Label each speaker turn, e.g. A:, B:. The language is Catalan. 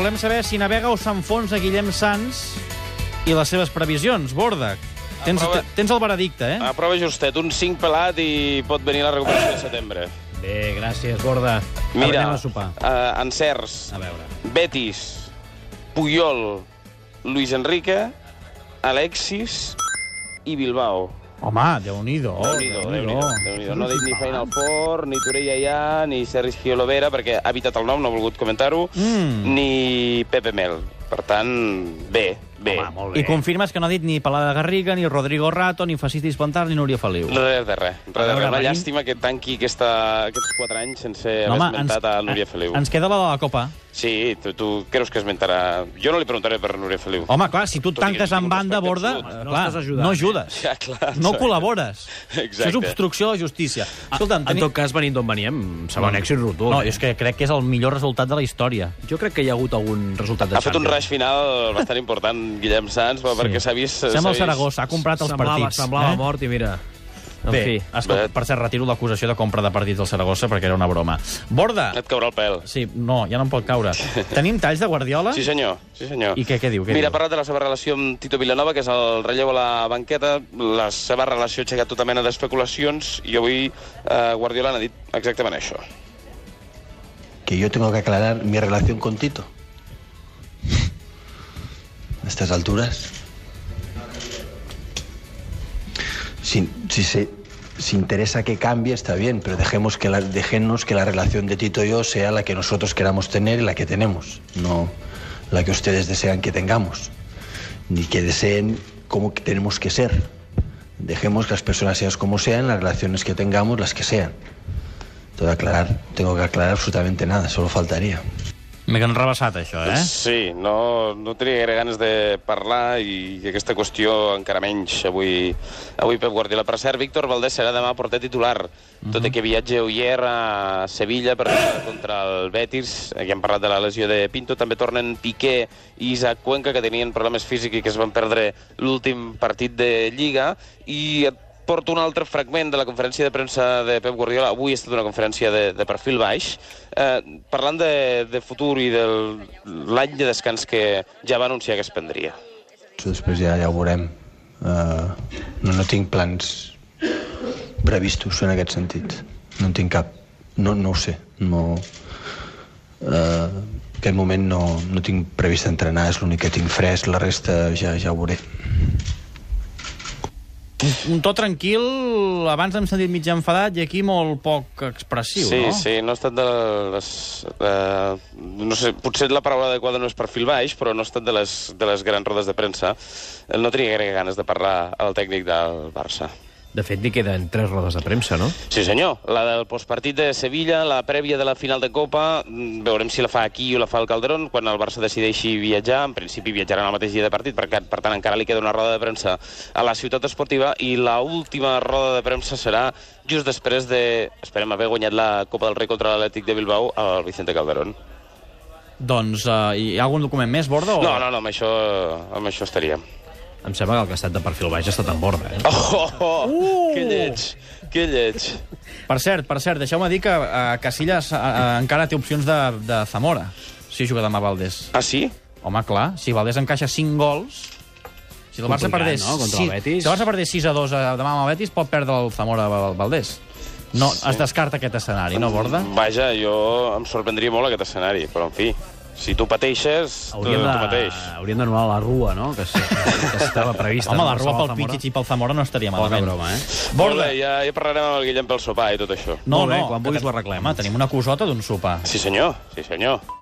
A: Volem saber si navega o s'enfonsa Guillem Sans i les seves previsions. Borda, tens,
B: Aprova.
A: tens el veredicte, eh?
B: A Ah, prova justet, un 5 pelat i pot venir la recuperació de setembre.
A: Bé, gràcies, Borda. Ara
B: Mira,
A: anem a sopar.
B: eh, encerts,
A: A veure.
B: Betis, Puyol, Luis Enrique, Alexis i Bilbao.
A: Home, Oh, Déu-n'hi-do.
B: Déu-n'hi-do, Déu-n'hi-do. Déu-n'hi-do. No ha dit ni Feina al Port, ni Torella Ià, ni Sergio Lovera, perquè ha evitat el nom, no ha volgut comentar-ho,
A: Mm.
B: ni Pepe Mel. Per tant, bé, bé.
C: Home, molt bé.
A: I confirmes que no ha dit ni Palada Garriga, ni Rodrigo Rato, ni Facitis Plantar, ni Núria Feliu.
B: Res de res. Res
A: A
B: de
A: veure,
B: res. Una
A: venim-
B: llàstima que tanqui aquesta, aquests 4 anys sense haver esmentat a Núria Feliu.
A: ens queda la de la Copa.
B: Sí, tu, tu creus que esmentarà... Jo no li preguntaré per Núria Feliu.
A: Home, clar, si tu
B: Tot i que
A: tanques
B: li tinc
A: en
B: un
A: banda,
B: respecte
A: Borda,
B: absolut.
C: No
A: clar,
C: estàs ajudant,
A: no
C: eh?
A: ajudes.
B: Ja, clar,
A: no
B: exacte.
A: col·labores. Això
B: Exacte.
A: és obstrucció a la justícia. Escolta'm,
C: Ah, En
A: teni-
C: tot cas, venint d'on veníem, segon
A: No.
C: èxit rotund.
A: No, és que crec que és el millor resultat de la història.
C: Jo crec que hi ha hagut algun resultat de
B: Ha fet un rush final bastant important, Guillem Sanz, sí. perquè s'ha vist... s'ha
A: Sembla el
B: vist-
A: Saragossa, ha comprat els
C: semblava,
A: partits.
C: Semblava eh? mort i mira... En
A: Bé,
C: fi.
A: escolta,
B: Bé.
A: per cert, retiro l'acusació de compra de partits al Saragossa perquè era una broma. Borda!
B: Et caurà el pèl.
A: Sí, no, ja no em pot caure. Tenim talls de Guardiola?
B: Sí, senyor. Sí, senyor.
A: I què- què diu, què
B: Mira,
A: diu?
B: ha parlat de la seva relació amb Tito Vilanova, que és el relleu a la banqueta. La seva relació ha aixecat tota mena d'especulacions i avui eh, Guardiola n'ha dit exactament això.
D: que yo tengo que aclarar mi relación con Tito. A estas alturas. Si, si se si interesa que cambie, está bien, pero dejemos que la, dejemos que la relación de Tito y yo sea la que nosotros queramos tener y la que tenemos, no la que ustedes desean que tengamos, ni que deseen cómo que tenemos que ser. Dejemos que las personas sean como sean, las relaciones que tengamos, las que sean. Tengo que aclarar, tengo que aclarar absolutamente nada, solo faltaría.
A: M'he enrebaçat, això, eh?
B: Doncs Sí, no, no tenia gaire ganes de parlar i aquesta qüestió encara menys avui, avui Pep Guardiola. Per cert, Víctor Valdés serà demà porter titular, tot
A: Mhm.
B: i que viatja Oyer a Sevilla per jugar contra el Betis. Aquí hem parlat de la lesió de Pinto. També tornen Piqué i Isaac Cuenca, que tenien problemes físics i que es van perdre l'últim partit de Lliga. I et porto un altre fragment de la conferència de premsa de Pep Guardiola. Avui ha estat una conferència de, de perfil baix. Eh, parlant de, de futur i de l'any de descans que ja va anunciar que es prendria.
D: Això després ja, ja ho veurem. Uh, no, no tinc plans previstos en aquest sentit. No en tinc cap. No, no ho sé. No, uh, en aquest moment no, no tinc previst entrenar, és l'únic que tinc fresc, la resta ja, ja ho veuré.
A: Un to tranquil, abans hem sentit mig enfadat i aquí molt poc expressiu,
B: sí,
A: no?
B: sí, no ha estat de les... Eh, no sé, potser la paraula adequada no és perfil baix, però no ha estat de les, de les grans rodes de premsa. Eh, No tenia gaire ganes de parlar al tècnic del Barça.
C: De fet, n'hi queden tres rodes de premsa, no?
B: Sí, senyor. La del postpartit de Sevilla, la prèvia de la final de Copa, mm, veurem si la fa aquí o la fa al Calderón, quan el Barça decideixi viatjar. En principi viatjaran el mateix dia de partit, perquè, per tant encara li queda una roda de premsa a la ciutat esportiva, i la última roda de premsa serà just després de, esperem, haver guanyat la Copa del Rei contra l'Atlètic de Bilbao al Vicente Calderón.
A: Doncs uh, hi ha algun document més, Borda? O...
B: No, no, no, amb això, amb això estaríem.
C: Em sembla que el que ha estat de perfil baix ha estat en borda, eh?
B: Oh, oh, oh uh! que lleig, que lleig.
A: Per cert, per cert, deixeu-me dir que uh, Casillas uh, encara té opcions de, de Zamora, si juga demà Valdés.
B: Ah, sí?
A: Home, clar, si Valdés encaixa 5 gols... Si el Barça
C: Complicat,
A: perdés,
C: no?, contra el
A: si,
C: Betis.
A: si el Barça perdés 6 a 2 a, demà amb el Betis, pot perdre el Zamora Val- Valdés. No, sí. es descarta aquest escenari, no, Borda?
B: Vaja, jo em sorprendria molt aquest escenari, però en fi, si tu pateixes, tu,
C: Hauríem de,
B: tu pateix.
C: hauríem d'anular la rua, no?, que, s- que estava prevista.
A: Home,
C: no?
A: la rua pel
C: Salva Zamora.
A: Pichichi i pel Zamora no estaria
C: Poca
A: malament.
C: broma, eh?
B: Molt
A: Borda,
B: bé, ja, ja parlarem amb el Guillem pel sopar i tot això.
A: No,
C: Molt bé,
A: no,
C: quan
A: que
C: vulguis
A: te-
C: ho arreglem.
A: Home, tenim una cosota d'un sopar.
B: Sí senyor, sí senyor.